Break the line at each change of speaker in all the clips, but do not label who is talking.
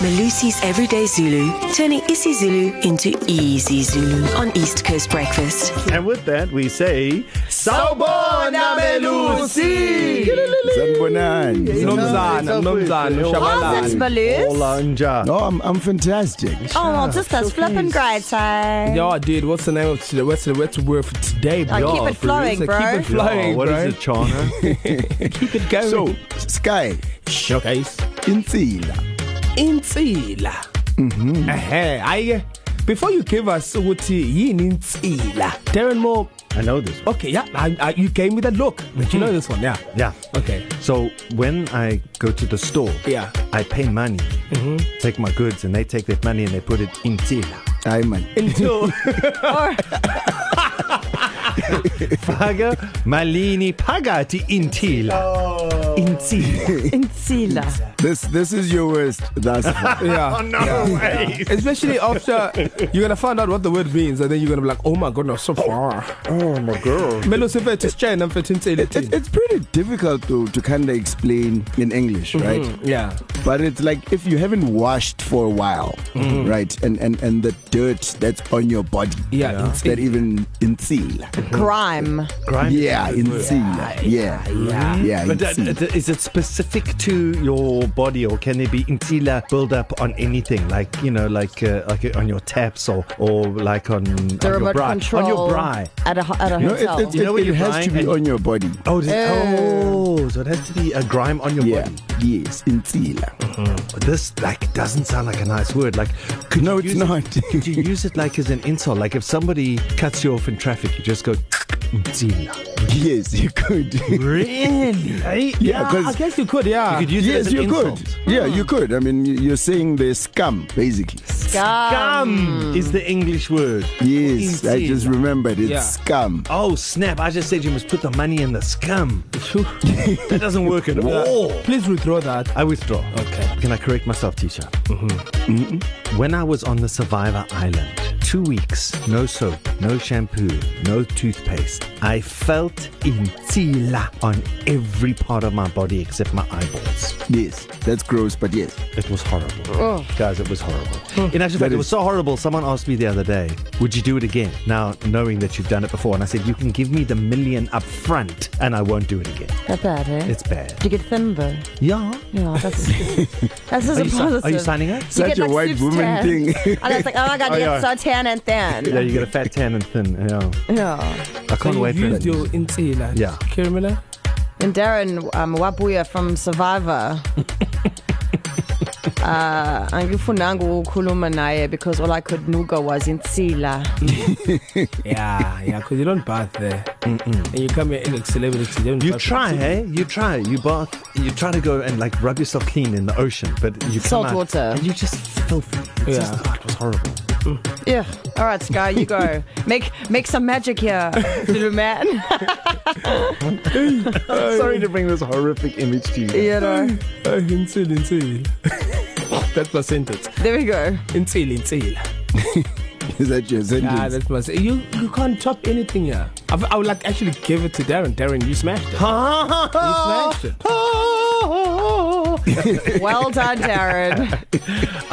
Malusi's Everyday Zulu, turning isiZulu into easy Zulu on East Coast Breakfast.
And with that, we say,
Sawubona, Melusi!
Sanibonani.
Nomzana, Nomzana,
How's it,
Shabalala.
Baloo?
Olanja.
No, Oh, I'm, I'm fantastic.
Oh, well, just us flip and grind time.
Yo, dude, what's the name of today? What's the what's the word for today, bro?
Oh, keep it flowing,
Producer,
bro.
Keep it flowing,
Oh, what
bro.
is it, Chana?
Keep it going.
So, Sky,
showcase.
Insila.
Insila. Mm-hmm. Uh-huh. I, before you give us ukuthi yini insila, Darren Moore.
I know this one.
Okay, yeah, I, I, you gave me that look. But you know this one, yeah.
Yeah.
Okay.
So when I go to the store,
Yeah.
I pay money, mm-hmm. take my goods, and they take that money and they put it in tila.
Ay man.
Until
Paga malini pagati in tila. In tila.
Insila.
This this is your worst thus far.
yeah.
no way.
Especially after you're gonna find out what the word means, and then you're gonna be like, "Oh my goodness, so far."
Oh my girl.
Melo Sifet is China for
It, it's pretty difficult to, to kind of explain in English, right?
Mm-hmm.
Yeah.
But it's like if you haven't washed for a while,
Mm-hmm.
right? And, and and the dirt that's on your body.
Yeah, Yeah.
That even insila.
Grime.
Grime.
Yeah, insila. Yeah. Yeah. Yeah.
But that,
insila.
that, is it specific to your body, or can there be intila buildup on anything, like you know, like uh, like on your taps, or or like on
The
on your
remote
bra,
control.
on your bra?
At a, ho- at a
No, it,
hotel.
it,
You know
it,
when
it
you're
has to
buying
be
and-
on your body.
Oh, does,
Uh,
oh, so it has to be a grime on your
Yeah.
body.
Yes, insila.
This like doesn't sound like a nice word. Like, could
No,
you
it's
use
not.
It, could you use it like as an insult? Like if somebody cuts you off in traffic, you just go. "Mzila."
Yes, you could.
Really? yeah,
'cause-
I guess you could. Yeah.
uh, You could use it as
Yes,
an
you
insult.
could. Yeah,
Ah.
you could. I mean, y- you're saying the scum, basically.
Um.
Scum is the English word.
Yes, I just
Insila.
remembered it's
Yeah.
scum.
Oh snap! I just said you must put the money in the scum. that doesn't work at all.
Please withdraw that.
I withdraw.
Okay.
Can I correct myself, teacher? Mm-hmm. Mm-hmm. When I was on the Survivor Island, two weeks, no soap, no shampoo, no toothpaste. I felt insila on every part of my body except my eyeballs.
Yes, that's gross, but yes.
It was horrible. Guys, it was horrible. In actual fact,
That
it was
is-
so horrible. Someone asked me the other day, Would you do it again? Now, knowing that you've done it before. And I said, You can give me the million up front, and I won't do it again.
Not bad, eh?
It's bad.
Do you get thin, though?
Yeah.
Yeah, that's, that's just
Are
a
you, si-
positive.
are you signing up?
Such a white woman thing.
And it's like, oh my god,
Oh,
you
yeah.
get so tan and thin.
Yeah, you got a fat, tan, and thin. Yeah.
Yeah.
I can't
So
wait
you
for
used
that.
your insila.
Yeah.
Kirimela.
And Darren um, Wabuya from Survivor. Uh, angifunanga ukukhuluma naye because all I could nuga was insila.
Yeah, yeah. Because you don't bath there, Mm-mm. and you come here and look celebrity. You, don't
You
bath.
try, hey? You try. You bath. You try to go and like rub yourself clean in the ocean, but you come
Salt
out
water.
and you just filthy. It's
Yeah.
just, oh, it was horrible.
Yeah. All right, Sky, you go. Make make some magic here, little man.
Sorry to bring this horrific image to you.
you know.
Oh, insila, insila. that's my sentence.
There we go.
Insila, insila.
Is that your
Nah,
sentence?
Ah, that's my. sen- You you can't top anything here. I, I would like actually give it to Darren. Darren, you smashed it. You smashed it.
Well done, Darren.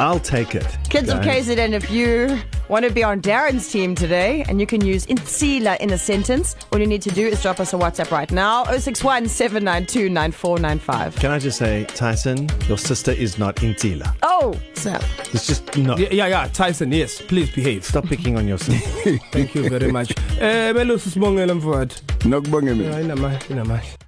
I'll take it.
Kids of KZN, if you want to be on Darren's team today and you can use insila in a sentence, all you need to do is drop us a WhatsApp right now 061 792 9495.
Can I just say, Tyson, your sister is not Intila.
Oh, snap.
It's just no.
Yeah, yeah, yeah. Tyson, yes. Please behave.
Stop picking on your sister.
Thank you very much. Eh, Melo Sisbongela Mfowethu.
Knock bong at me.
Hayi, inamahle, inamahle.